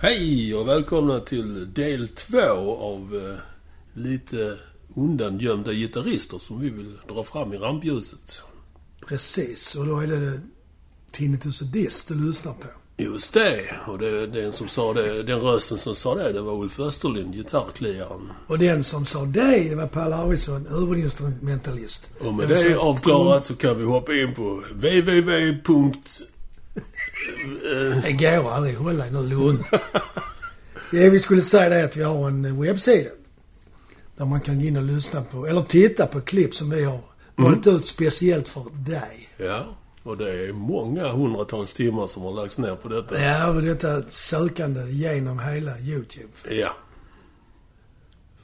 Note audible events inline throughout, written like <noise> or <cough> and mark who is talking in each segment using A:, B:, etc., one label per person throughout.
A: Hej och välkomna till del två av eh, lite undangömda gitarrister som vi vill dra fram i rampljuset.
B: Precis, och då är det Tinnitus och Dist du lyssnar på.
A: Just det, och det, den som sa det, den rösten som sa det, det var Ulf Österlind, gitarrkliaren.
B: Och den som sa det, det var Palle Arvidsson, huvudinstrumentalist.
A: Och med
B: Det
A: det
B: vill säga-
A: avklarat så kan vi hoppa in på www.
B: Det går aldrig, håll dig nu lugn. det vi skulle säga det är att vi har en webbsida. Där man kan gå in och lyssna på, eller titta på klipp som vi har valt ut speciellt för dig.
A: Ja, och det är många hundratals timmar som har lagts ner på detta.
B: Ja, och detta sökande genom hela YouTube.
A: Ja.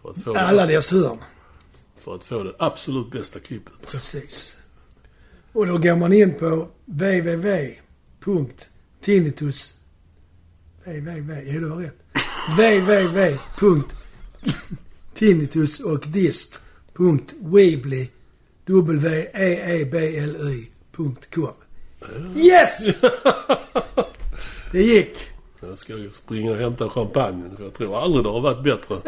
A: För att få
B: Alla
A: det,
B: dess hörn.
A: för att få det absolut bästa klippet.
B: Precis. Och då går man in på www.tinnitus... www... Ja, du har rätt. E www.tinnitusochdist.weebly.com
A: <laughs>
B: Yes! Det gick.
A: Jag ska ju springa och hämta champagnen, för jag tror aldrig det har varit
B: <laughs>
A: bättre.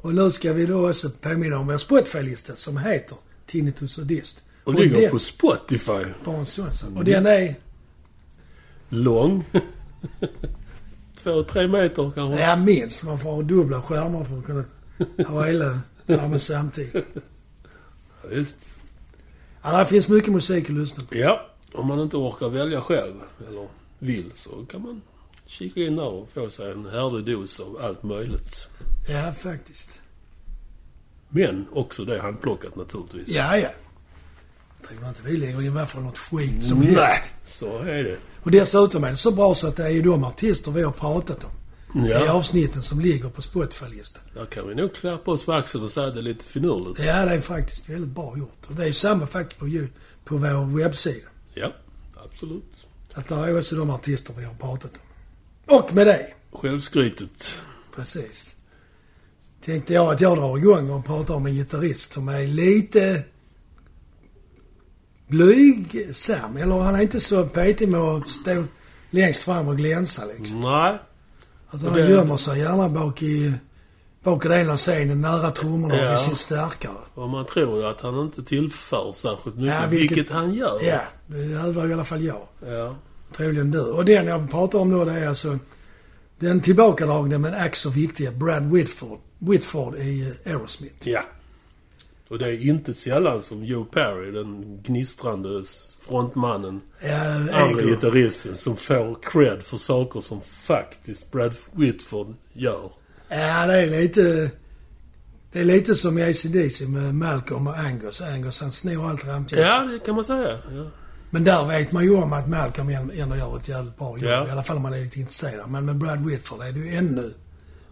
B: Och nu ska vi då också påminna om vår Spotify-lista som heter Tinnitus och dist.
A: Och ligger
B: den-
A: på Spotify.
B: Bara en sån sak. Och den är...
A: Lång. <laughs> Två, tre meter kanske.
B: Ja, minst. Man får ha dubbla skärmar för att kunna ha hela skärmen samtidigt.
A: Ja, Visst.
B: Ja, det finns mycket musik att lyssna på.
A: Ja, om man inte orkar välja själv, eller vill, så kan man kika in där och få sig en härlig dos av allt möjligt.
B: Ja, faktiskt.
A: Men också det handplockat naturligtvis.
B: Ja, ja. Jag tror inte vi lägger in varför något skit som
A: Nej,
B: helst.
A: så är det.
B: Och dessutom är det så bra så att det är ju de artister vi har pratat om. I
A: Ja,
B: avsnitten som ligger på Spotify-listan.
A: där kan vi nog klappa oss på axeln och säga det är lite finurligt.
B: Ja, det är faktiskt väldigt bra gjort. Och det är ju samma faktiskt på, ju- på vår webbsida.
A: Ja, absolut.
B: Att där är också de artister vi har pratat om. Och med det.
A: Självskrytet.
B: Precis. Tänkte jag att jag drar igång och pratar om en gitarrist som är lite blygsam. Eller han är inte så petig med att stå längst fram och glänsa liksom.
A: Nej,
B: Att
A: Och
B: han
A: Mm. det-
B: gömmer sig gärna bak i, bak i delen av scenen, nära trummorna
A: Ja.
B: och i sin starkare.
A: Och man tror ju att han inte tillför särskilt mycket,
B: Ja,
A: vilket...
B: vilket-
A: han gör.
B: Ja, det hävdar i alla fall jag.
A: Ja.
B: Troligen du. Och den jag pratar om då det är alltså den tillbakadragne men ack så viktiga Brad Whitford, Whitford i Aerosmith.
A: ja. Och det är inte sällan som Joe Perry, den gnistrande s- frontmannen,
B: Ja,
A: andra
B: ego.
A: gitarristen, som får cred för saker som faktiskt Brad Whitford gör.
B: Ja, det är lite... Det är lite som i ACDC med Malcolm och Angus. Angus han snor allt rampljus.
A: Ja, det kan man säga. Ja.
B: Men där vet man ju om att Malcolm än- ändå gör ett jävligt bra jobb.
A: Ja.
B: I alla fall om man är lite intresserad. Men med Brad Whitford är det ju ännu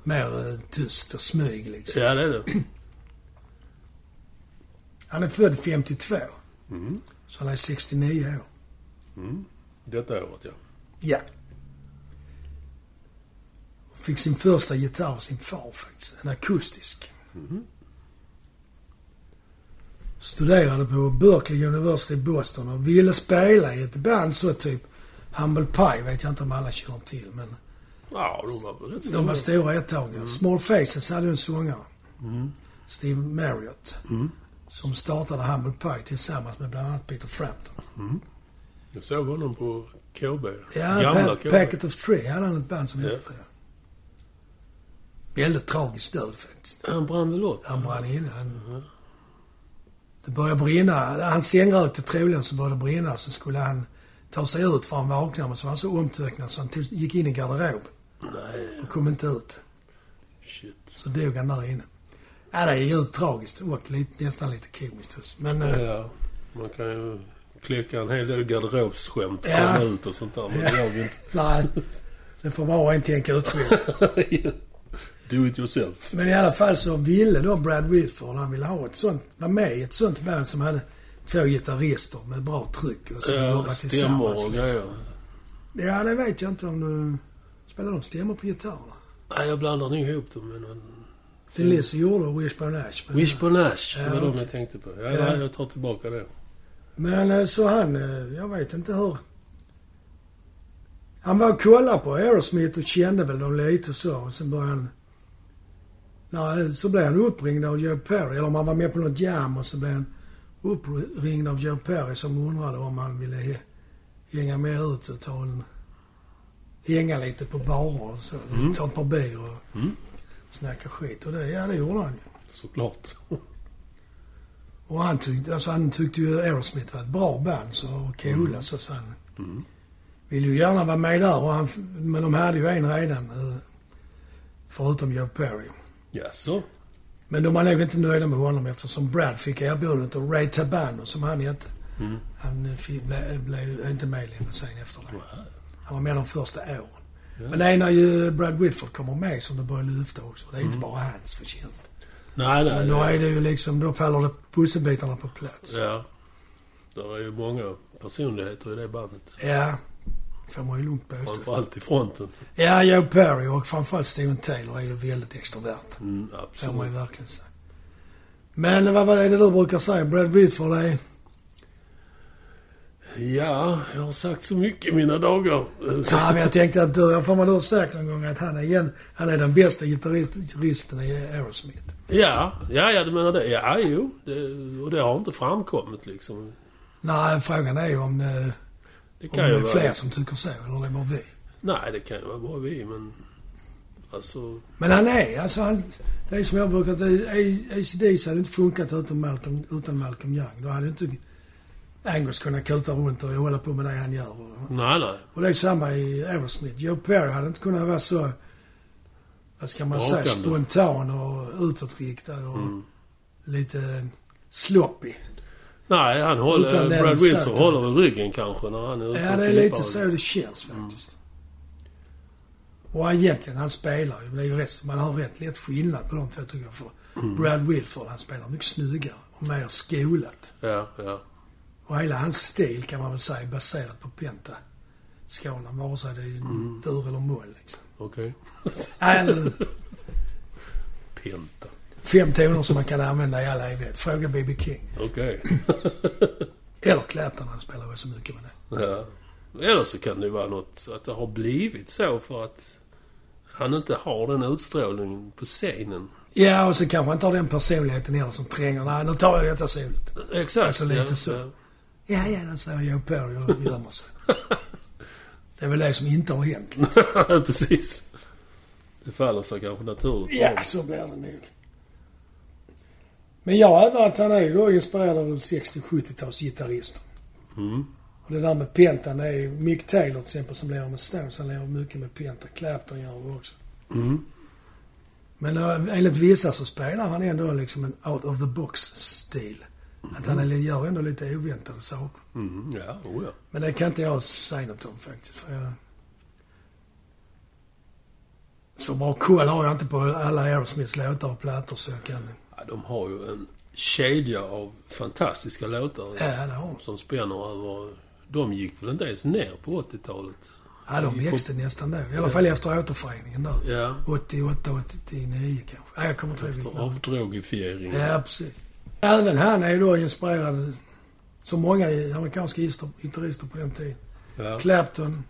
B: mer eh, tyst och smyg liksom.
A: ja, det är det.
B: Han är född 52.
A: Mm.
B: Så han är 69 år.
A: Detta året, ja.
B: Ja. Fick sin första gitarr av sin far faktiskt. En akustisk. Studerade på Berkeley University i Boston och ville spela i ett band så typ Humble Pie vet jag inte om alla känner till men
A: Ja, de var väl rätt
B: de var
A: stora.
B: stora ett tag. Small Faces hade ju en sångare. Steve Marriott. Som startade Humble Pie tillsammans med bland annat Peter Frampton.
A: Jag såg honom på KB.
B: Ja,
A: Gamla
B: pa
A: KB.
B: Packet of Three hade han ett band som
A: Ja.
B: hette. Väldigt tragiskt död faktiskt.
A: Han brann väl upp?
B: Han brann inne.
A: Mm-hmm.
B: Han, det började brinna. Han sängrökte troligen så började det brinna. Så skulle han ta sig ut för han vaknade men så var han så omtöcknad så han tog, gick in i garderoben
A: Nej,
B: och kom inte ut.
A: shit.
B: Så dog han där inne. Ja, det är djupt tragiskt och lite, nästan lite komiskt också. Men eh,
A: Ja, man kan ju kläcka en hel del garderobsskämt
B: Ja.
A: komma ut och sånt där. Men
B: Ja.
A: jag vill inte.
B: nej, det får var och en tänka ut själv. <laughs>
A: Do it yourself.
B: Men i alla fall så ville då Brad Whitford, han ville ha ett sånt, vara med i ett sånt band som hade två gitarrister med bra tryck och som
A: Ja,
B: jobbade
A: stämmor
B: tillsammans. liksom?
A: och grejer.
B: Ja, det vet jag inte om du... Spelar de stämmor på gitarrerna?
A: Nej, jag blandar nog ihop dem med någon...
B: Thin Lizzy gjorde och Wishbone Ash. Men,
A: Wishbone Ash, det
B: Ja,
A: var de
B: okej.
A: jag tänkte på. Ja,
B: Ja.
A: Nej, jag tar tillbaka det.
B: men eh, så han, eh, jag vet inte hur... Han var och kollade på Aerosmith och kände väl dem lite och så. Och sen började han... Nej, så blev han uppringd av Joe Perry. Eller om han var med på något jam och så blev han uppringd av Joe Perry som undrade om han ville he- hänga med ut och ta en... Hänga lite på barer och så. Ta ett par bier och
A: Mm.
B: snacka skit. Och det, ja, det gjorde han ju. <laughs>
A: Såklart.
B: Och han tyckte, alltså han tyckte ju Aerosmith var ett bra band så, och coola så, så han
A: Mm.
B: ville ju gärna vara med där. Och han, men de hade ju en redan. eh, Förutom Joe Perry.
A: Jaså?
B: Men de var nog inte nöjda med honom eftersom Brad fick erbjudandet och Ray Tabano som han hette.
A: Mm.
B: Han eh, fi- ble- blev inte med längre sen efter det.
A: Wow.
B: Han var med de första åren.
A: Ja.
B: Men det är när ju Brad Whitford kommer med som det börjar lyfta också. Det är
A: Mm.
B: inte bara hans förtjänst.
A: Nej, nej.
B: Men då är det ju liksom, då faller det pusselbitarna på plats.
A: Ja. Det är ju många personligheter i det bandet.
B: Ja, får man ju lugnt påstå.
A: Framförallt i fronten.
B: Ja, Joe Perry och framförallt Steven Taylor är ju väldigt extrovert.
A: Mm,
B: Får man ju
A: absolut.
B: verkligen säga. Men vad vad är det du brukar säga? Brad eh? Whitford är...
A: Ja, jag har sagt så mycket i mina
B: <laughs>
A: dagar.
B: Ja, men jag tänkte att du, jag får man då sagt någon gång att han är, igen, han är den bästa gitarrist- gitarristen i Aerosmith.
A: Ja, ja, ja du menar det. Ja, jo. Det, och det har inte framkommit liksom.
B: Nej, frågan är ju om det,
A: Det
B: om det
A: kan ju
B: är
A: vara...
B: fler som tycker så, eller om det är bara vi.
A: Nej, det kan ju vara bara vi, men... Alltså...
B: Men han är, alltså han... Det är som jag brukar säga, ACDC hade inte funkat utan Malcolm, utan Malcolm Young. Då hade inte Angus kunnat kuta runt och hålla på med det han gör. Och,
A: Nej, nej.
B: Och det är samma i Aerosmith. Joe Perry hade inte kunnat vara så, vad ska man säga,
A: Brakande.
B: spontan och utåtriktad och
A: Mm.
B: lite sloppy.
A: Nej, han
B: Utan
A: håller...
B: den
A: Brad Wilson
B: säkert.
A: håller väl ryggen kanske när han är ute
B: Ja,
A: och
B: det är
A: flippar.
B: lite så det känns faktiskt. Och han egentligen, han spelar ju, men det är ju rätt, man har rätt lätt skillnad på de två tycker jag. För Brad Wilford, han spelar mycket snyggare och mer skolat.
A: Ja, ja.
B: Och hela hans stil kan man väl säga är baserat på pentaskalan, vare sig det är dur eller moll liksom.
A: Okej.
B: Nej, nu-
A: Penta.
B: Fem toner som man kan använda i all evighet. Fråga B.B. King.
A: Okej.
B: Eller Clapton, han spelar väl så mycket med det.
A: Ja. Eller så kan det ju vara något att det har blivit så för att han inte har den utstrålningen på scenen.
B: Ja, och så kanske han inte har den personligheten heller som tränger. Nej, nu tar jag detta soligt.
A: Exakt.
B: Alltså lite
A: ja,
B: så.
A: ja.
B: Ja, ja, då står jag på och gömmer <laughs> sig. Det är väl det som inte har hänt.
A: <laughs> Precis. Det faller sig kanske naturligt. för
B: Ja, så blir det nog. Men jag hävdar att han är ju då inspirerad av 60-70-talsgitarrister.
A: honom. Mm.
B: Och det där med pentan, det är Mick Taylor till exempel som lever med Stones. Han lever mycket med penta. Clapton gör det också.
A: Mm.
B: Men eh, enligt vissa så spelar han ändå liksom en out of the box-stil. Att han li- gör ändå lite oväntade saker.
A: Mm. Ja, oh ja.
B: Men det kan inte jag säga något om faktiskt. För jag... Så bra koll har jag inte på alla Aerosmiths låtar och plattor så jag kan...
A: ja. De har ju en kedja av fantastiska låtar
B: Ja, det har de.
A: som spänner över... De gick väl inte ens ner på 80-talet?
B: Ja, de växte nästan då. I alla fall efter återföreningen där.
A: Mm. Ja.
B: 88, 89 kanske. Nej, jag kommer inte ihåg. vilket
A: Efter
B: namn.
A: avdrogifieringen.
B: Ja, precis. Även han är ju då inspirerad, som många amerikanska gitarrister- gitarrister på den tiden.
A: Ja.
B: Clapton,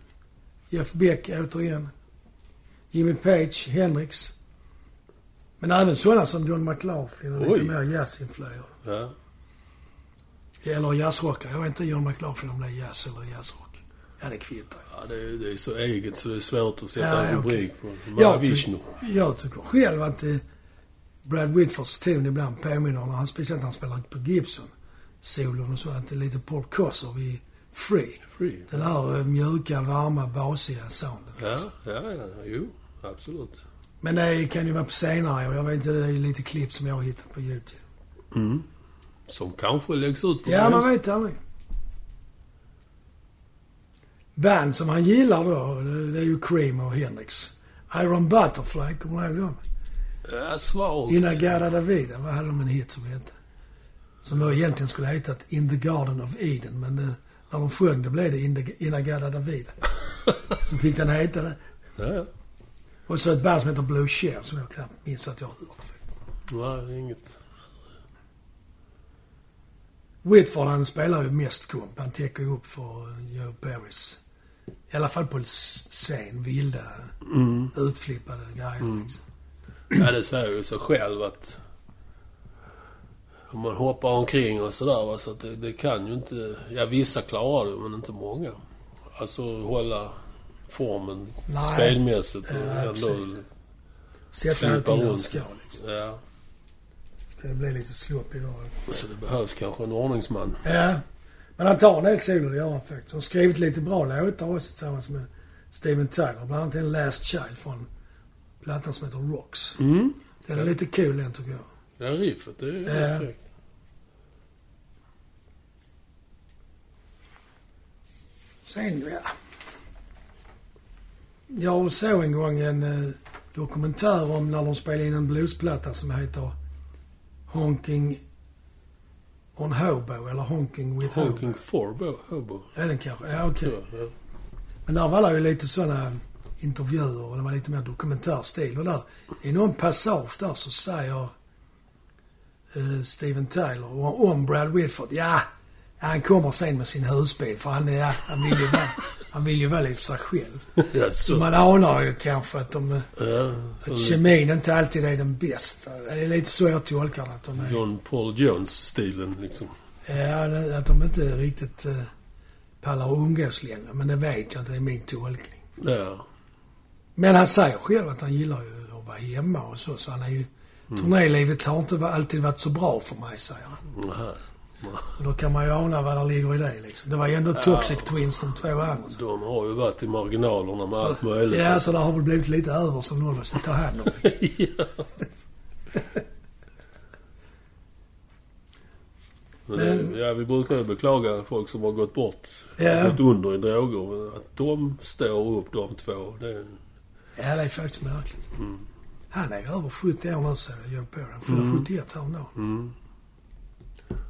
B: Jeff Beck återigen, Jimmy Page, Hendrix. Men även sådana som John McLaughlin och
A: Oj.
B: lite mer jazzinfluer.
A: Ja.
B: Eller jazzrockare. Jag vet inte John McLaughlin om det är jazz eller jazzrock. Ja, det kvittar.
A: Ja, det, är, det är så eget så det är svårt att sätta
B: Ja,
A: en
B: okej.
A: rubrik på.
B: Jag,
A: Mahavishnu.
B: ty- jag tycker själv att eh, Brad Whitfords ton ibland påminner om, när han, speciellt när han spelar på Gibson, solon och så, att det är lite Paul Kosser i Free.
A: Free.
B: Den här eh, mjuka, varma, basiga soundet.
A: Ja, ja, ja, jo, absolut.
B: Men det kan ju vara på senare år. Jag vet inte, det är lite klipp som jag har hittat på YouTube.
A: Mm. Som kanske läggs ut på
B: Ja, man
A: Reels.
B: vet aldrig. Band som han gillar då, det det är ju Cream och Hendrix. Iron Butterfly, kommer du ihåg dem?
A: Ja, svagt.
B: Innan Garda Davida, vad hade de en hit som hette? Som då egentligen skulle ha hetat In the Garden of Eden, men det, när de sjöng det blev det In the- Innan Garda Davida. Så fick den heta det.
A: Ja, ja.
B: Och så ett band som heter Blue Cheer som jag knappt minns att jag har hört faktiskt.
A: Nej, inget.
B: Whitford han spelar ju mest komp. Han täcker ju upp för eh, Joe Perrys I alla fall på scen, vilda,
A: Mm.
B: utflippade grejer liksom.
A: Ja, det säger ju sig själv att... Om man hoppar omkring och sådär va, så att det, det kan ju inte... Ja, vissa klarar det, men inte många. Alltså hålla formen
B: Nej.
A: spelmässigt och
B: Ja,
A: ändå...
B: precis. Sätta
A: Flippa
B: allt i en
A: runt.
B: ska liksom.
A: Ja.
B: Det blev lite slopp idag.
A: Så det behövs kanske en ordningsman.
B: Ja. Men han tar en del solo, det gör han faktiskt. Han har skrivit lite bra låtar också tillsammans med Steven Tyler. Bland annat en Last Child från plattan som heter Rocks.
A: Mm.
B: Den är lite kul den tycker jag.
A: Det är riffet, det är ju
B: Ja.
A: helt fräckt.
B: Sen, ja. Jag såg en gång en eh, dokumentär om när de spelade in en bluesplatta som heter Honking on Hobo eller Honking with Hobo.
A: Honking Forbo,
B: <laughs>
A: Hobo.
B: Ja, den kanske. Ja, okej.
A: tror jag. Ja.
B: Men där var det ju lite sådana intervjuer och det var lite mer dokumentärstil. Och där, i någon passage där så säger eh, Steven Tyler o- om Brad Whitford. Ja, han kommer sen med sin husbil för han, är, han, vill, ju vara, han vill ju vara lite sig själv.
A: Ja,
B: Så
A: så.
B: man anar ju kanske att, de,
A: Ja,
B: att
A: så
B: kemin inte alltid är den bästa. Det är lite så jag tolkar det. Att de, är,
A: John Paul Jones-stilen liksom.
B: ja, att de inte riktigt eh, pallar att umgås längre. Men det vet jag inte, det är min tolkning.
A: Ja.
B: Men han säger själv att han gillar ju att vara hemma och så, så han är ju... Turnélivet har inte va- alltid varit så bra för mig, säger han.
A: Nähä.
B: Och då kan man ju ana vad det ligger i det liksom. Det var ju ändå Toxic Twins de två andra.
A: De har ju varit i marginalerna med allt möjligt.
B: Ja, så det har väl blivit lite över som någon måste ta hand om.
A: <laughs> Ja. Men
B: Men-
A: det, ja, vi brukar ju beklaga folk som har gått bort,
B: Ja.
A: gått under i droger. men Att de står upp de två, det...
B: Ja, det är faktiskt märkligt. Han är ju över 70 år nu, så jag går på. Han fyller 71 häromdagen.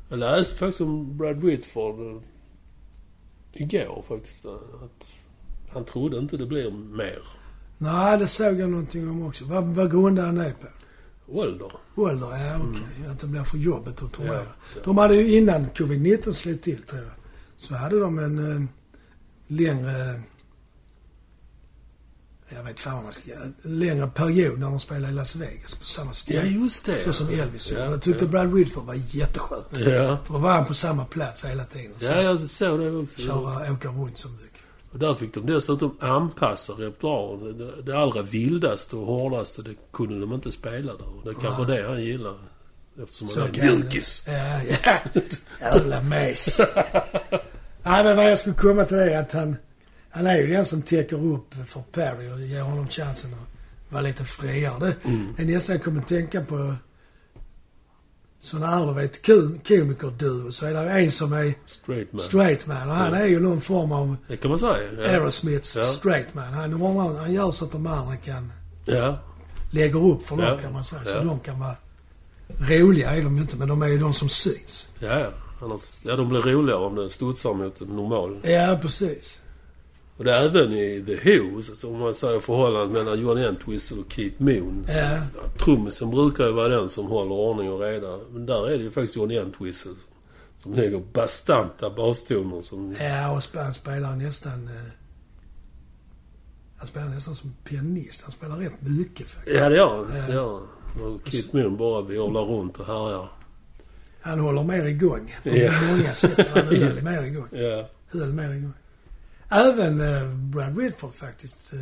A: Jag läste faktiskt om Brad Whitford eh, igår faktiskt. eh, Att han trodde inte det blir mer
B: Nej, det såg jag någonting om också. Vad, vad grundar han det på?
A: ålder.
B: Ålder, ja okej. Att det blir för jobbigt att turnera.
A: Mm. Ja, ja.
B: De hade ju innan covid-19 slog till tror jag. Så hade de en eh, längre... Jag vet fan vad man ska En längre period när de spelade i Las Vegas på samma
A: Ja,
B: ställe.
A: just det.
B: så som Elvis
A: Ja,
B: gjorde. Jag tyckte
A: ja.
B: Brad Whitford var jätteskönt.
A: Ja.
B: För då var han på samma plats hela tiden. Så
A: Ja, jag såg det också.
B: Köra, åka runt så mycket.
A: Och där fick de dessutom anpassa repertoaren. Det, det allra vildaste och hårdaste, det kunde de inte spela där. Och Det är kanske det han gillar. Eftersom han är en mjukis.
B: Ja, ja. Jävla mes. Nej, men vad jag skulle komma till är att han, han är ju den som täcker upp för Perry och ger honom chansen att vara lite friare. Det
A: Mm.
B: det är nästan jag kommer att tänka på sådana här, du vet, kom- komikerduo. Så är det en som är
A: Straight man.
B: straight man och han är ju någon form av
A: Det kan man säga. Ja.
B: Aerosmiths
A: Ja.
B: straight man. Han, han gör så att de andra kan
A: Ja.
B: lägger upp för dem
A: Ja.
B: kan man säga. Så
A: Ja.
B: de kan vara... Roliga är de ju inte, men de är ju de som syns.
A: Ja, ja. Annars, ja, de blir roligare om det studsar mot en normal.
B: Ja, precis.
A: Och det är även i The Who, så- som man säger förhållandet mellan Johnny Entwistle och Keith Moon.
B: Ja,
A: Ja, Trummisen brukar ju vara den som håller ordning och reda. Men där är det ju faktiskt Johnny Entwistle som lägger bastanta bastoner som...
B: ja och sp- han spelar nästan... Eh, han spelar nästan som pianist. Han spelar rätt mycket faktiskt.
A: Ja, det gör han. Det gör han. Och Keith Moon bara violar runt och härjar.
B: Han håller mer igång. På
A: Ja.
B: många sätt. Han höll mer igång.
A: Ja.
B: Höll mer igång. Även eh, Brad Whitford faktiskt eh,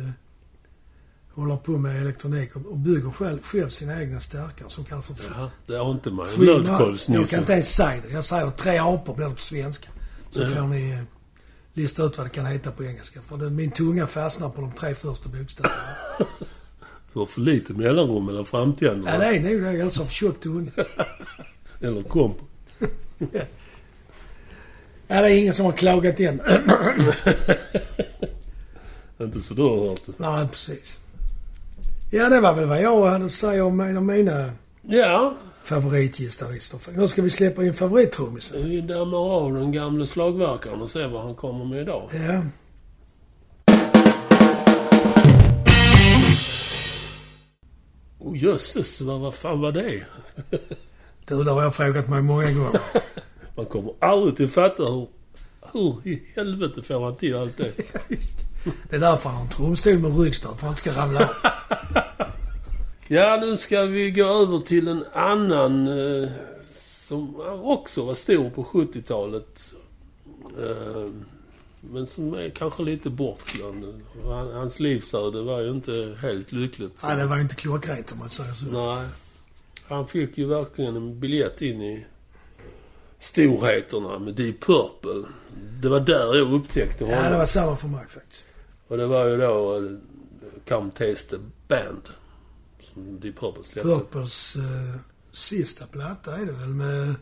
B: håller på med elektronik och, och bygger själv, själv sina egna stärkare som kallas för
A: ja. Det har inte man.
B: Jag kan
A: Nötkålsnisse.
B: inte ens säga det. Jag säger tre apor blir det på svenska. Så
A: Ja.
B: får ni eh, lista ut vad det kan heta på engelska. För det, min tunga fastnar på de tre första bokstäverna.
A: Du har för lite mellanrum mellan
B: ja, det
A: framtänderna.
B: är nog det. Eller så har jag tjock tunga.
A: Eller komp.
B: Ja, det är ingen som har klagat än. <clears throat>
A: Inte så du har hört det.
B: Nej, precis. Ja, det var väl vad jag hade att säga om en av mina
A: Ja,
B: favoritgitarrister. Nu ska vi släppa in favorittrummisen.
A: vi dammar av den gamle slagverkaren och ser vad han kommer med idag.
B: Ja.
A: Oh, jösses, vad, vad fan var det?
B: Du, det har jag frågat mig många gånger.
A: Man kommer aldrig till fatta hur... Hur i helvete får han till allt det?
B: Visst. Det är därför han har en trumstol med ryggstöd, för att han ska ramla av.
A: Ja, nu ska vi gå över till en annan eh, som också var stor på 70-talet. Eh, men som är kanske lite bortglömd. Han, hans livsöde var ju inte helt lyckligt. så-
B: Nej, det var inte klockrent om man säger så.
A: Nej. Han fick ju verkligen en biljett in i storheterna med Deep Purple. Det var där jag upptäckte honom.
B: Ja, det var samma för mig faktiskt.
A: Och det var ju då eh, Come Taste the Band. Som Deep Purple släppte.
B: Purples eh, sista platta är det väl med...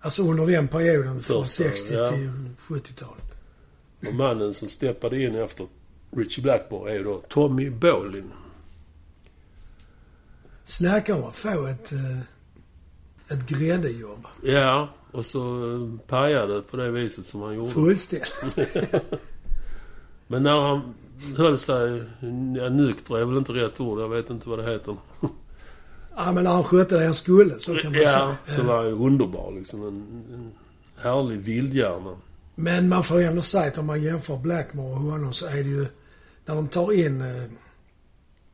B: Alltså under den perioden från
A: Första,
B: 60
A: ja.
B: till 70-talet.
A: Och mannen som steppade in efter Richie Blackmore är ju då Tommy Bolin.
B: Snacka om att få ett, eh, ett gräddejobb.
A: Ja, och så eh, pajade på det viset som han gjorde.
B: Fullständigt.
A: Men när han höll sig... Ja, nykter är väl inte rätt ord. Jag vet inte vad det heter.
B: Ja, men han skötte det han skulle, så kan man
A: Ja,
B: säga.
A: så var han ju underbar liksom. En, en härlig vildhjärna.
B: Eh, Men man får ju ändå säga att om man jämför Blackmore och honom så är det ju... När de tar in eh,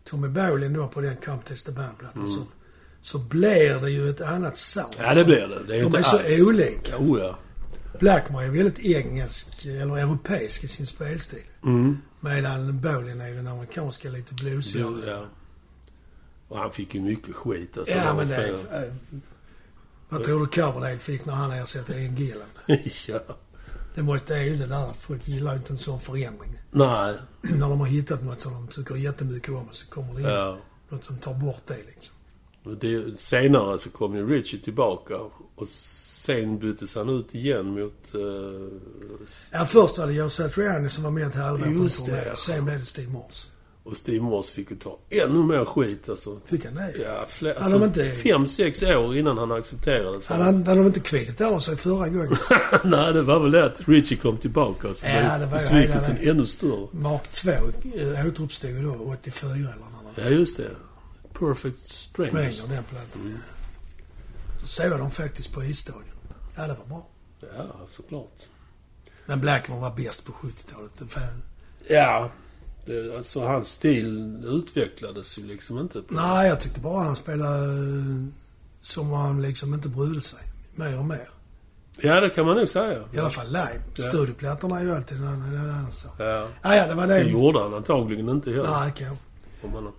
B: Tommy Bolin då på den Come Test the Band-plattan så, så blir det ju ett annat sound.
A: Mm. Ja, det blir det. Det är
B: De
A: inte
B: är så
A: alls.
B: olika.
A: Jo, ja.
B: Blackmore är väldigt engelsk, eller europeisk i sin spelstil.
A: Mm.
B: Medan Bolin är ju den amerikanska lite bluesigare.
A: Jo, ja. Och han fick ju mycket skit alltså. när
B: Ja,
A: han
B: men det...
A: spelade. <laughs>
B: Är, eh, vad tror du Coverdale fick när han ersatte Ian Gillan?
A: ja.
B: Det måste det är ju det där att folk gillar ju inte en sån förändring. <clears throat>
A: Nej.
B: när de har hittat något som de tycker jättemycket om och så kommer det in
A: Ja.
B: något som tar bort det liksom.
A: Och Det, senare så kom ju Richie tillbaka. Och sen byttes han ut igen mot... eh, S-
B: Ja, först var det Joe Satriani som var med ett halvår på en
A: Just det,
B: turné.
A: ja.
B: Sen blev det Steve Morse.
A: och Steve Morse fick ju ta ännu mer skit alltså.
B: Fick han det?
A: Ja, fler,
B: Hade de
A: alltså,
B: inte-
A: fem, sex år innan han accepterades.
B: Hade, han, hade de inte kvidit av sig förra gången?
A: <laughs> Nej, det var väl det att Richie kom tillbaka. Så
B: Ja,
A: blev
B: det var ju
A: besvikelsen
B: hela det.
A: ännu större.
B: Mark 2 eh, återuppstod ju då 84 eller när man
A: Ja, just det. Perfect Strangers.
B: spränger den plattan. Så såg jag dem faktiskt på isstadion. Ja, det var bra.
A: Ja, såklart.
B: Men Blackmore var bäst på 70-talet. Det fan-
A: Ja. Det, alltså, hans stil utvecklades ju liksom inte. På,
B: Nej, jag tyckte bara han spelade eh, som om han liksom inte brydde sig. Mer och mer.
A: Ja, det kan man nog säga.
B: I alla fall live.
A: Ja.
B: Studioplattorna är ju alltid en annan, en annan sak.
A: Ja.
B: Ja, ja, det var
A: Det
B: det.
A: gjorde han antagligen inte heller.
B: Nej, kanske.
A: Om man,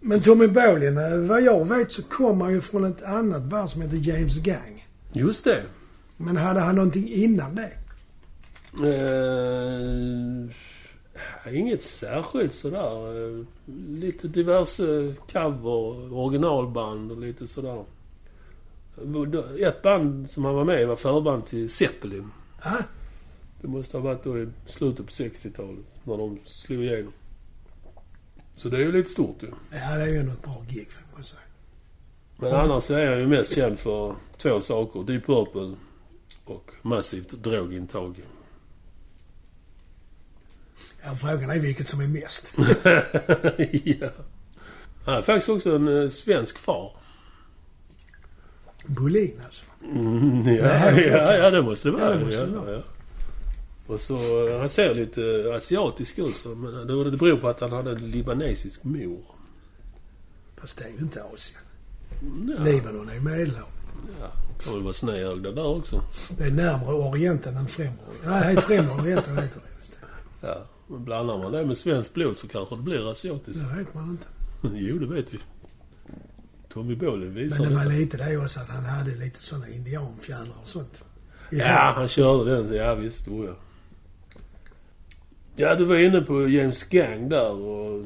B: Men Tommy Bolin, eh, vad jag vet så kom han ju från ett annat band som heter James Gang.
A: just det.
B: Men hade han någonting innan det?
A: Eh, inget särskilt sådär. Eh, Lite diverse cover, originalband och lite sådär. Eh, Ett band som han var med i var förband till Zeppelin.
B: Ja,
A: Det måste ha varit då i slutet på 60-talet, när de slog igenom. Så det är ju lite stort ju.
B: ja det är ju ändå ett bra gig får man säga.
A: Men annars så är jag ju mest känd för två saker. Deep Purple och massivt drogintag.
B: Ja, frågan är vilket som är mest.
A: <laughs> ja. Han är faktiskt också en eh, svensk far.
B: Bolin alltså.
A: Mm, ja,
B: Nej,
A: ja, ja, det måste det
B: Ja,
A: vara.
B: det måste det
A: ja,
B: vara.
A: ja. Och så, eh, han ser lite eh, asiatisk ut så, men eh, det det beror på att han hade en libanesisk mor.
B: Fast det är ju inte Asien.
A: Ja,
B: Libanon är ju Medelhavet.
A: ja, kan väl vara snedögda där också.
B: Det är närmare Orienten än Främre Orienten. Nej, helt Främre Orienten heter det. Just det.
A: Ja, men blandar man det med svenskt blod så kanske det blir asiatiskt. <laughs>
B: det vet man inte.
A: jo, det vet vi. Tommy Bolin
B: Men
A: visar
B: det var
A: det.
B: lite det också att han hade lite sådana indianfjädrar och sånt. I
A: Ja, han körde den. Så ja, visst. Oh, ja. ja, du var inne på James Gang där och...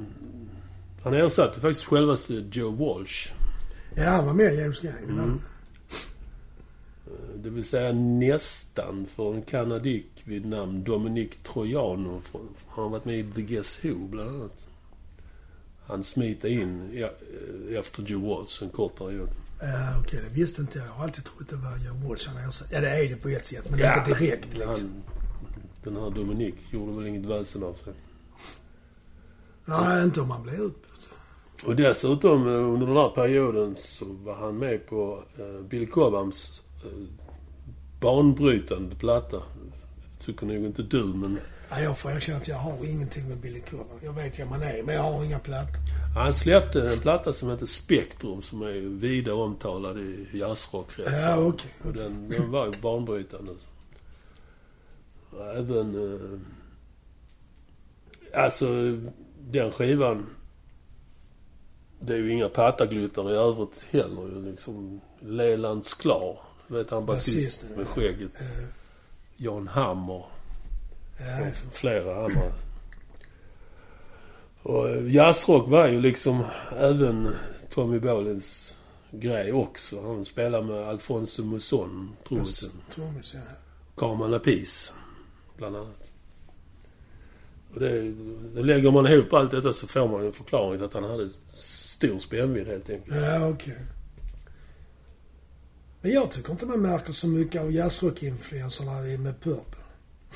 A: Han ersatte faktiskt självaste Joe Walsh.
B: Ja, han var med i James Gang. Mm.
A: Det vill säga nästan för en kanadik vid namn Dominic Trojano. Från- Han har varit med i The Guess Who bland annat. Han smita in ja, eh, efter Joe Walsh en kort period.
B: Uh, Okej, det visste inte jag. Jag har alltid trott det var Joe Walsh han ersatte. Ja, det är det på ett sätt, men
A: Ja,
B: inte direkt liksom.
A: Han, den här Dominik gjorde väl inget väsen av sig.
B: Nej, inte om han blev utbytt.
A: Och dessutom eh, under den här perioden så var han med på eh, Bill Cobhams eh, banbrytande platta. Tycker nog inte du, men
B: Nej, jag får erkänna att jag har ingenting med Billy Corgan. Jag vet vem man är, men jag har inga plattor.
A: Han släppte en platta som heter Spektrum som är ju vida omtalad i jazzrockkretsar.
B: Ja, okej.
A: Och den, den var ju banbrytande. Och Även... Eh, alltså, den skivan... Det är ju inga pattagluttar i övrigt heller ju liksom. Leland Sklar, vet han basisten
B: Basisten,
A: med skägget.
B: Eh,
A: Jan Hammer
B: ja,
A: och flera andra. Och eh, jazzrock var ju liksom även Tommy Bolins grej också. Han spelade med Alfonso Musson, trummisen.
B: trummis, ja.
A: Carmen Lapis, bland annat. Och det, det lägger man ihop allt detta så får man ju en förklaring till att han hade stor spännvidd helt enkelt.
B: Ja, okej. Men jag tycker inte man märker så mycket av jazzrock-influenserna i- med Purple.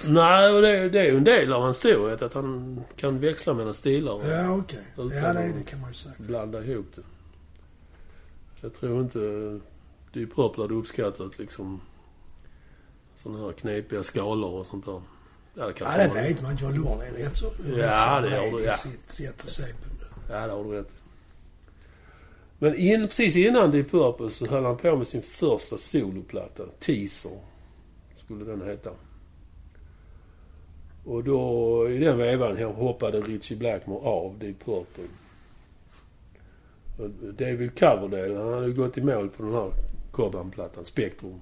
A: Nej, och det, det är ju en del av hans storhet att han kan växla mellan stilar. Och,
B: Ja, okej. Ja,
A: Utan-
B: det, är det kan man ju säga.
A: blanda ihop det. Jag tror inte det är Purple hade uppskattat liksom sådana här knepiga skalor och sånt där. Ja, det,
B: Ja,
A: kanske
B: det
A: man-
B: vet man. John Lord är rätt så
A: Ja,
B: rätt så
A: det gör
B: bred
A: du,
B: i
A: ja.
B: sitt sätt att se på det.
A: Ja, det har du rätt i. Men in, precis innan Deep Purple så höll han på med sin första soloplatta, Teaser, skulle den heta. Och då, i den vevan hoppade Richie Blackmore av Deep Purple. Och David Coverdale, han hade ju gått i mål på den här Cobham-plattan, Spektrum.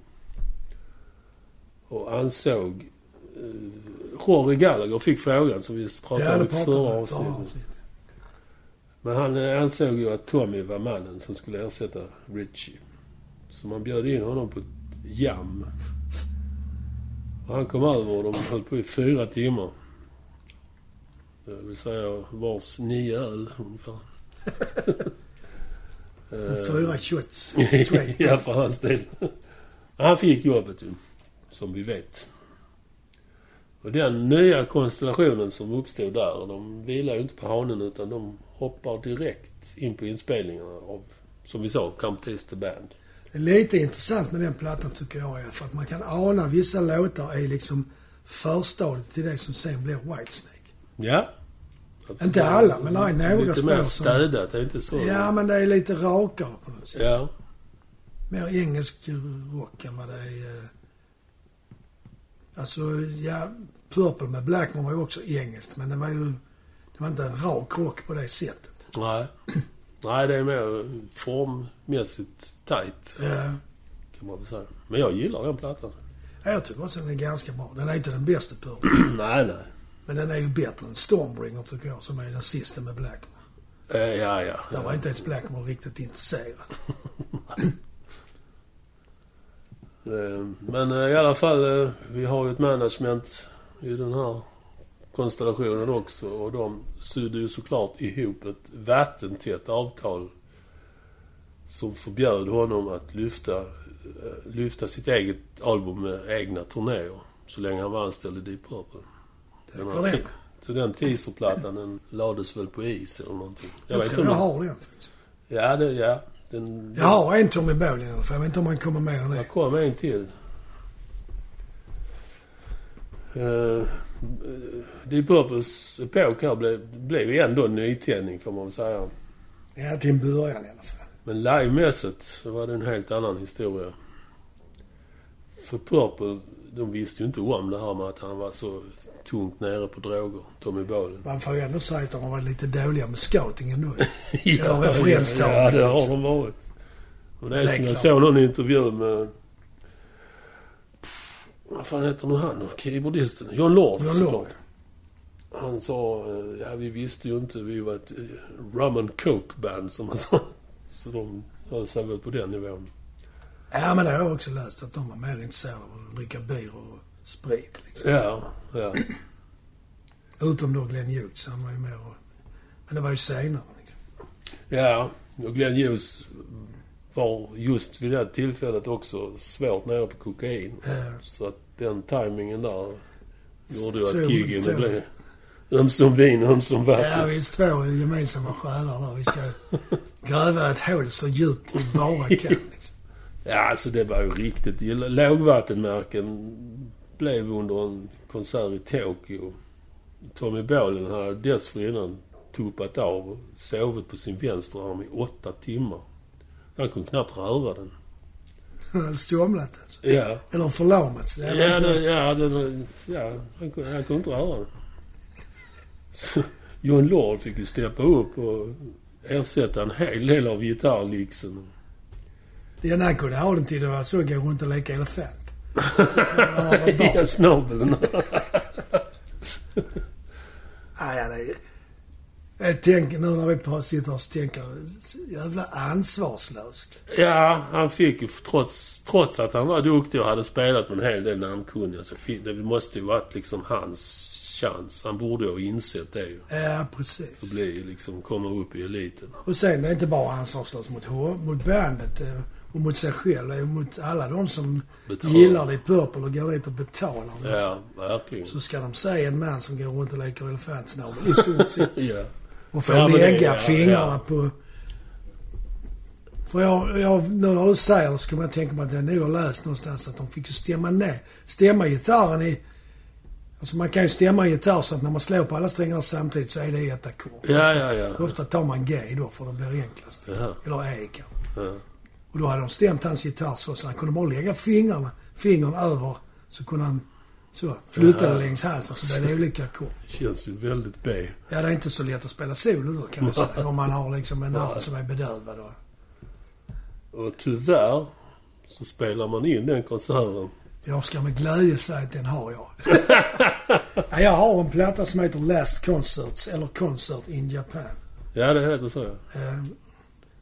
A: Och ansåg... Eh, Rory Gallagher fick frågan som vi
B: Ja,
A: pratade
B: det
A: om i förra
B: pratar man
A: avsnittet.
B: om.
A: Men han eh, ansåg ju att Tommy var mannen som skulle ersätta Richie. Så man bjöd in honom på ett jam. Och han kom över och de höll på i fyra timmar. Det vill säga vars nio öl ungefär. Eh,
B: Fyra
A: <laughs>
B: shots straight.
A: ja, för hans del. Han fick jobbet ju, som vi vet. Och den nya konstellationen som uppstod där, de vilar ju inte på hanen utan de hoppar direkt in på inspelningarna av, som vi sa, Come Taste the Band.
B: Det är Lite intressant med den plattan tycker jag är för att man kan ana vissa låtar är liksom förstadiet till det som sen blir Whitesnake.
A: Ja.
B: Inte alla, men det är några
A: Lite
B: spår
A: mer
B: som-
A: städat, det är inte så...
B: Ja, men det är lite rakare på något sätt.
A: ja.
B: Mer engelsk rock än vad det är... eh, Alltså, ja, Purple med Blackmore var ju också engelskt, men det var ju... Det var inte en rak rock på det sättet.
A: Nej. Nej, det är mer formmässigt tight,
B: Ja,
A: kan man väl säga. Men jag gillar den plattan. <clears throat>
B: jag tycker också den är ganska bra. Den är inte den bästa Purple.
A: nej, nej.
B: Men den är ju bättre än Stormbringer tycker jag, som är den sista med Blackmore.
A: Eh, ja, ja.
B: Där var inte ens Blackmore riktigt intresserad.
A: Eh, Men eh, i alla fall, eh, vi har ju ett management i den här konstellationen också och de sydde ju såklart ihop ett vattentätt avtal som förbjöd honom att lyfta, eh, lyfta sitt eget album med egna turnéer så länge han var anställd i Deep Purple. Den
B: Tack
A: här
B: för det.
A: te- Så den teaserplattan den lades väl på is eller någonting. Jag,
B: Jag
A: vet
B: tror
A: inte
B: jag
A: om...
B: har den faktiskt.
A: Ja, det, ja. Den,
B: Jag har en Tommy Bolin i alla fall. Jag vet inte om han kommer med än
A: Jag
B: det.
A: kom en till. Uh, Deep Purples epok här blev, blev ju ändå en nytändning får man väl säga.
B: Ja, till en början i alla fall.
A: Men livemässigt så var det en helt annan historia. För Purple, de visste ju inte om det här med att han var så tungt nere på droger, Tommy Bolin.
B: Man får ju ändå säga att de har varit lite dåliga med scoutingen nu. Ja, referenstavlan.
A: Ja, det har de varit. Och det är
B: Det är
A: som jag
B: klart.
A: såg någon intervju med... Vad fan heter nu han då? Keyboardisten? John Lord
B: John
A: såklart.
B: Lord,
A: Han sa... eh, Ja, vi visste ju inte. Vi var ett eh, rum and coke band, som han sa. <laughs> Så de höll sig väl på den nivån.
B: Ja, men det har jag också läst att de var mer intresserade av att dricka bier och sprit. Liksom.
A: Ja, ja.
B: Utom då Glenn Hughes, han var ju mer... och- Men det var ju senare. Liksom.
A: Ja, och Glenn Hughes var just vid det här tillfället också svårt nere på kokain.
B: Eh,
A: Så att den tajmingen där gjorde ju
B: Tror
A: att giggen
B: inte.
A: blev ömsom vin, ömsom
B: Ja,
A: vatten.
B: vi är två gemensamma själar där. Vi ska gräva ett hål så djupt vi bara kan. Liksom. <laughs>
A: Ja, alltså det var ju riktigt illa. Lågvattenmärken blev under en konsert i Tokyo Tommy Bålen hade dessförinnan tuppat av och sovit på sin vänstra arm i åtta timmar. Han kunde knappt röra den.
B: Han hade stomnat alltså.
A: Ja.
B: Eller förlamats. Jag vet
A: Ja,
B: inte.
A: det, ja, det, ja han, kunde- han kunde inte röra den. Så <laughs> John Lord fick ju steppa upp och ersätta en hel del av gitarrlixen.
B: Det enda han kunde ha den till det var så att gå runt och leka elefant.
A: <laughs>
B: När man var barn.
A: Ja, snabeln.
B: Nej, ja, det är... Jag tänker nu när vi på- sitter och tänker, jävla ansvarslöst.
A: Ja, han fick ju trots, trots att han var duktig och hade spelat med en hel del namnkunniga så fick, det måste ju varit liksom hans chans. Han borde ju ha insett det ju.
B: Ja,
A: Att
B: precis.
A: bli liksom, komma upp i eliten.
B: Och sen, det är inte bara ansvarslöst mot, H- mot bandet eh, och mot sig själv. Det är ju mot alla de som
A: Betala.
B: gillar det i Purple och går dit och betalar.
A: Ja, verkligen.
B: Så ska de se en man som går runt och leker elefantsnabel i
A: <laughs>
B: stort sett.
A: <laughs> Ja.
B: Och får
A: Ja, men det-
B: lägga
A: ja,
B: fingrarna
A: ja.
B: på... För jag, jag, nu när du säger det så kommer jag tänka mig att jag nog har läst någonstans att de fick ju stämma ner. Stämma gitarren i... Alltså man kan ju stämma en gitarr så att när man slår på alla strängarna samtidigt så är det ett ackord.
A: Ja, ja, ja.
B: Ofta tar man G då för det blir enklast.
A: Jaha.
B: Eller E kanske.
A: ja.
B: Och då hade de stämt hans gitarr så, så han kunde bara lägga fingrarna, fingern över så kunde han så, flytta det
A: Jaha.
B: längs halsen så blev det olika ackord.
A: Känns ju väldigt B.
B: Ja, det är inte så lätt att spela solo då kan man säga. Om man har liksom en arm som är bedövad. Och...
A: Och tyvärr så spelar man in den konserten.
B: Jag ska med glädje säga att den har jag. ja, jag har en platta som heter Last Concerts, eller Concert in Japan.
A: Ja, det heter så ja.
B: Eh,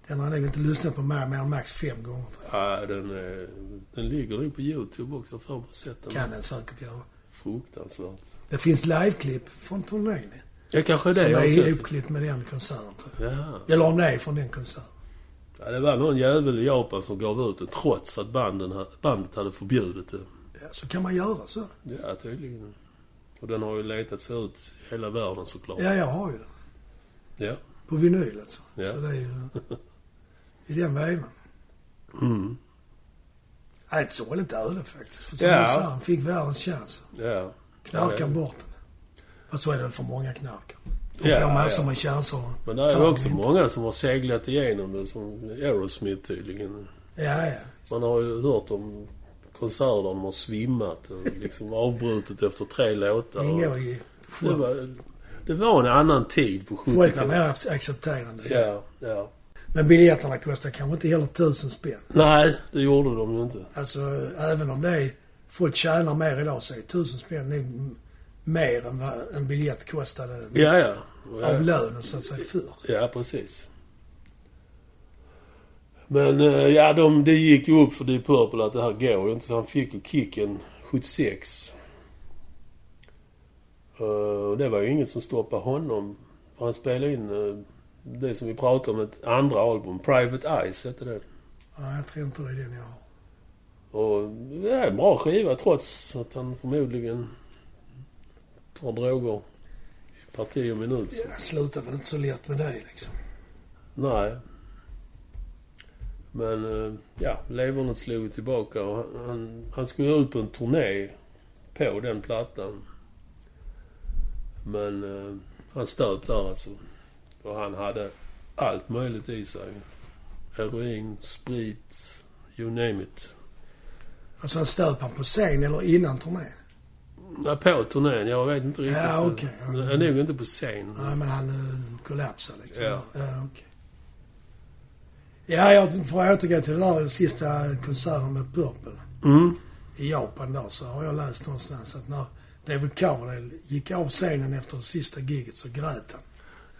B: Den har jag nog inte lyssnat på mer mer än max fem gånger. tror jag.
A: ja den, eh, den ligger nog på YouTube också. Jag har för mig sett den.
B: Kan den säkert göra.
A: Fruktansvärt.
B: Det finns liveklipp från turnén.
A: Ja, kanske det
B: Som
A: jag har
B: är
A: sett.
B: ihopklippt med den konserten tror
A: Ja.
B: jag. Eller om det är från den konserten.
A: ja, det var någon jävel i Japan som gav ut den trots att banden, ha- bandet hade förbjudit det.
B: Ja, så kan man göra så.
A: Ja, tydligen. Och den har ju letat sig ut i hela världen såklart.
B: Ja, jag har ju den.
A: Ja.
B: På vinyl alltså.
A: Ja.
B: Så det är ju
A: <laughs>
B: i den väven.
A: Mm.
B: Nej, ett sorgligt öde faktiskt. För som
A: Ja.
B: du sa, han fick världens chans.
A: Ja.
B: Knarkar
A: Ja, det-
B: bort den. Fast så är det väl för många knarkar. De
A: Ja,
B: får massor
A: ja.
B: med chanser.
A: Men det är
B: Tar
A: ju
B: de
A: också
B: inte.
A: många som har seglat igenom det, som Aerosmith tydligen.
B: Ja, ja.
A: Man har ju hört om konserter där de har svimmat och liksom avbrutit efter tre låtar.
B: Det ingår ju
A: Det
B: folk-
A: var, det var en annan tid på
B: folk var
A: 70-talet.
B: mer ac- accepterande.
A: Ja, ja.
B: Men biljetterna kostar kanske inte heller tusen spänn.
A: Nej, det gjorde de ju inte.
B: Alltså, även om det är, folk tjänar mer idag så är tusen spänn nog m- mer än vad en biljett kostade
A: Ja, ja.
B: av
A: Ja,
B: lönen så att säga förr.
A: ja precis. Men eh, ja, de, det gick ju upp för Deep Purple att det här går ju inte. Så han fick ju kicken 76. Eh, Och det var ju inget som stoppade honom. För Han spelade in eh, det som vi pratade om, ett andra album. Private Eyes hette det.
B: Nej, jag tror inte det är den jag har.
A: Och det är en bra skiva trots att han förmodligen tar droger i parti och minut.
B: Jag slutar väl inte så lätt med det liksom.
A: Nej. Men eh, ja, levernet slog ju tillbaka och han- han, han skulle ut på en turné på den plattan. Men eh, han stöp där alltså. Och han hade allt möjligt i sig. Heroin, sprit, you name it.
B: Alltså han stöp han på scen eller innan turnén?
A: Ja, på turnén. Jag vet inte riktigt.
B: Ja, okej, ja.
A: Men Jag är nog inte på scen.
B: Nej, men han eh, kollapsade liksom.
A: Ja.
B: ja okej. Ja, jag får återgå till den där sista konserten med Purple.
A: Mm.
B: I Japan då så har jag läst någonstans att när David Coverdale gick av scenen efter det sista giget så grät han.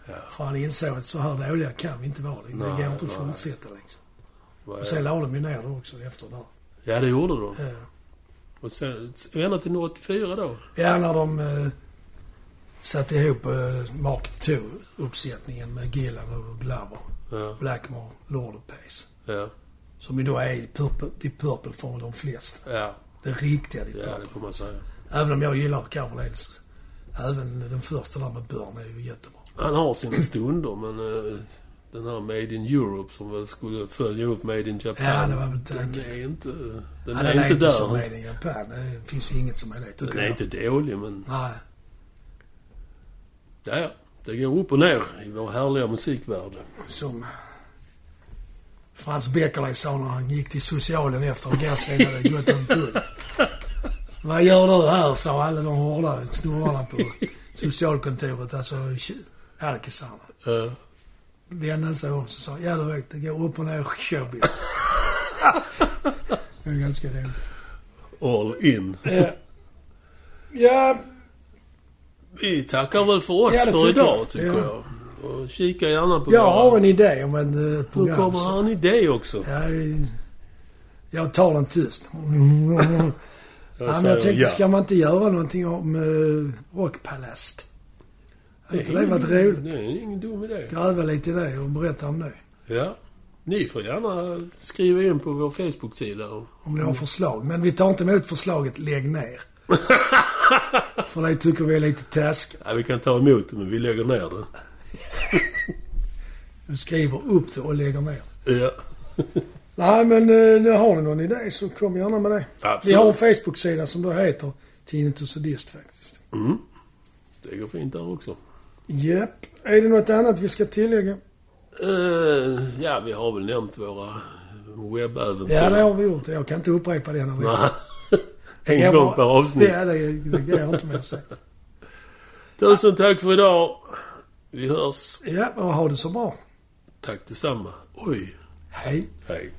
A: Ja.
B: För han insåg att så här dåliga kan vi inte vara. Det, det
A: Nej,
B: går inte att
A: nej.
B: fortsätta liksom.
A: Vad
B: Och
A: är-
B: sen la de ju ner det också efter det.
A: Ja, det gjorde de.
B: Ja.
A: Och sen, ända till 84 då.
B: Ja, när de eh, satte ihop eh, Mark II-uppsättningen med Gillan och Glover,
A: Ja,
B: Blackmore, Lord och Pace.
A: ja,
B: Som ju då är Purple, Deep Purple för de flesta.
A: ja.
B: Det riktiga Deep
A: Ja, det
B: Purple.
A: får man säga.
B: Även om jag gillar Coverdales. Även den första där med Burn är ju jättebra.
A: Han har sina stunder, men eh, den här Made in Europe som väl skulle följa upp Made in Japan.
B: Ja, det var väl
A: den
B: tanken.
A: är inte... Den,
B: Ja,
A: är, inte där.
B: som är i Japan. Det finns ju inget som är det, tycker
A: den är
B: jag.
A: inte dålig, men
B: Nej.
A: Ja, ja. Det går upp och ner i vår härliga musikvärld.
B: Som Frans Beckerley sa när han gick till socialen efter att Gaslin hade gått omkull. Vad gör du här? sa alla de hårda snorarna på socialkontoret, alltså tj- alkisarna.
A: Eh,
B: Vände sig om och sa, ja du vet, det går upp och ner i showbiz. <laughs> det är ganska roligt.
A: all in.
B: Ja. Eh, Ja,
A: Vi tackar väl för oss
B: Ja, det
A: för
B: tycker
A: idag,
B: jag.
A: tycker
B: Ja.
A: jag. Och kika gärna på
B: jag
A: våra-
B: har en idé om en eh,
A: Nu
B: program.
A: kommer
B: som-
A: han i det också.
B: Jag, jag tar
A: <laughs>
B: den tyst. Ja, men jag
A: säger
B: tänkte,
A: ja.
B: ska man inte göra någonting om eh, Rockpalast? Hade inte det
A: ingen-
B: varit roligt?
A: Det är ingen dum idé.
B: Gräva lite i det och berätta om det.
A: Ja. Ni får gärna skriva in på vår Facebook-sida. och-
B: Om ni har förslag. Men vi tar inte emot förslaget
A: <laughs>
B: lägg ner. För det tycker vi är lite taskigt.
A: Ja, vi kan ta emot det, men vi lägger ner det.
B: Vi skriver upp det och lägger ner.
A: Ja.
B: Nej men eh, nu har ni någon idé så kom gärna med det.
A: Absolut.
B: Vi har en Facebook-sida som då heter Tidning till sadist faktiskt.
A: Mm. Det går fint där också.
B: Japp. Är det något annat vi ska tillägga?
A: Eh, ja, vi har väl nämnt våra webbäventyr.
B: Ja, det har vi gjort. Jag kan inte upprepa det. När vi...
A: Nej. <laughs> en gång per avsnitt.
B: Ja, det, det går inte med att säga.
A: Tusen tack för idag. Vi hörs.
B: Ja, och ha det så bra.
A: Tack detsamma. Oj.
B: Hej.
A: Hej.